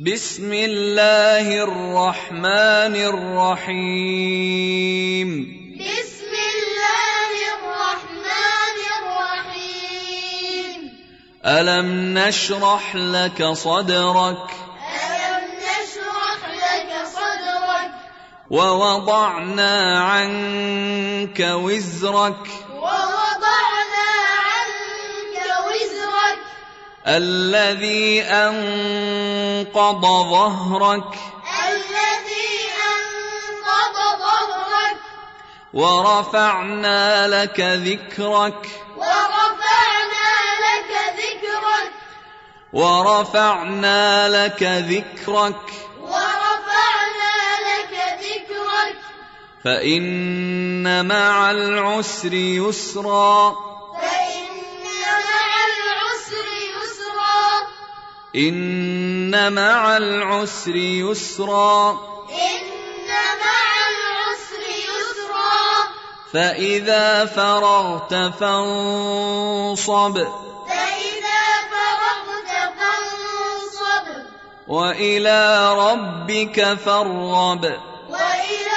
بسم الله الرحمن الرحيم بسم الله الرحمن الرحيم ألم نشرح لك صدرك ألم نشرح لك صدرك ووضعنا عنك وزرك ووضعنا عنك وزرك الذي أنقض ظهرك الذي أنقض ظهرك ورفعنا لك ذكرك ورفعنا لك ذكرك ورفعنا لك ذكرك ورفعنا لك ذكرك فإن مع العسر يسرا فإن مع العسر يسرا إن مع العسر يسرا إن مع العسر يسرا فإذا فرغت فانصب فإذا فرغت فانصب وإلى ربك فارغب وإلى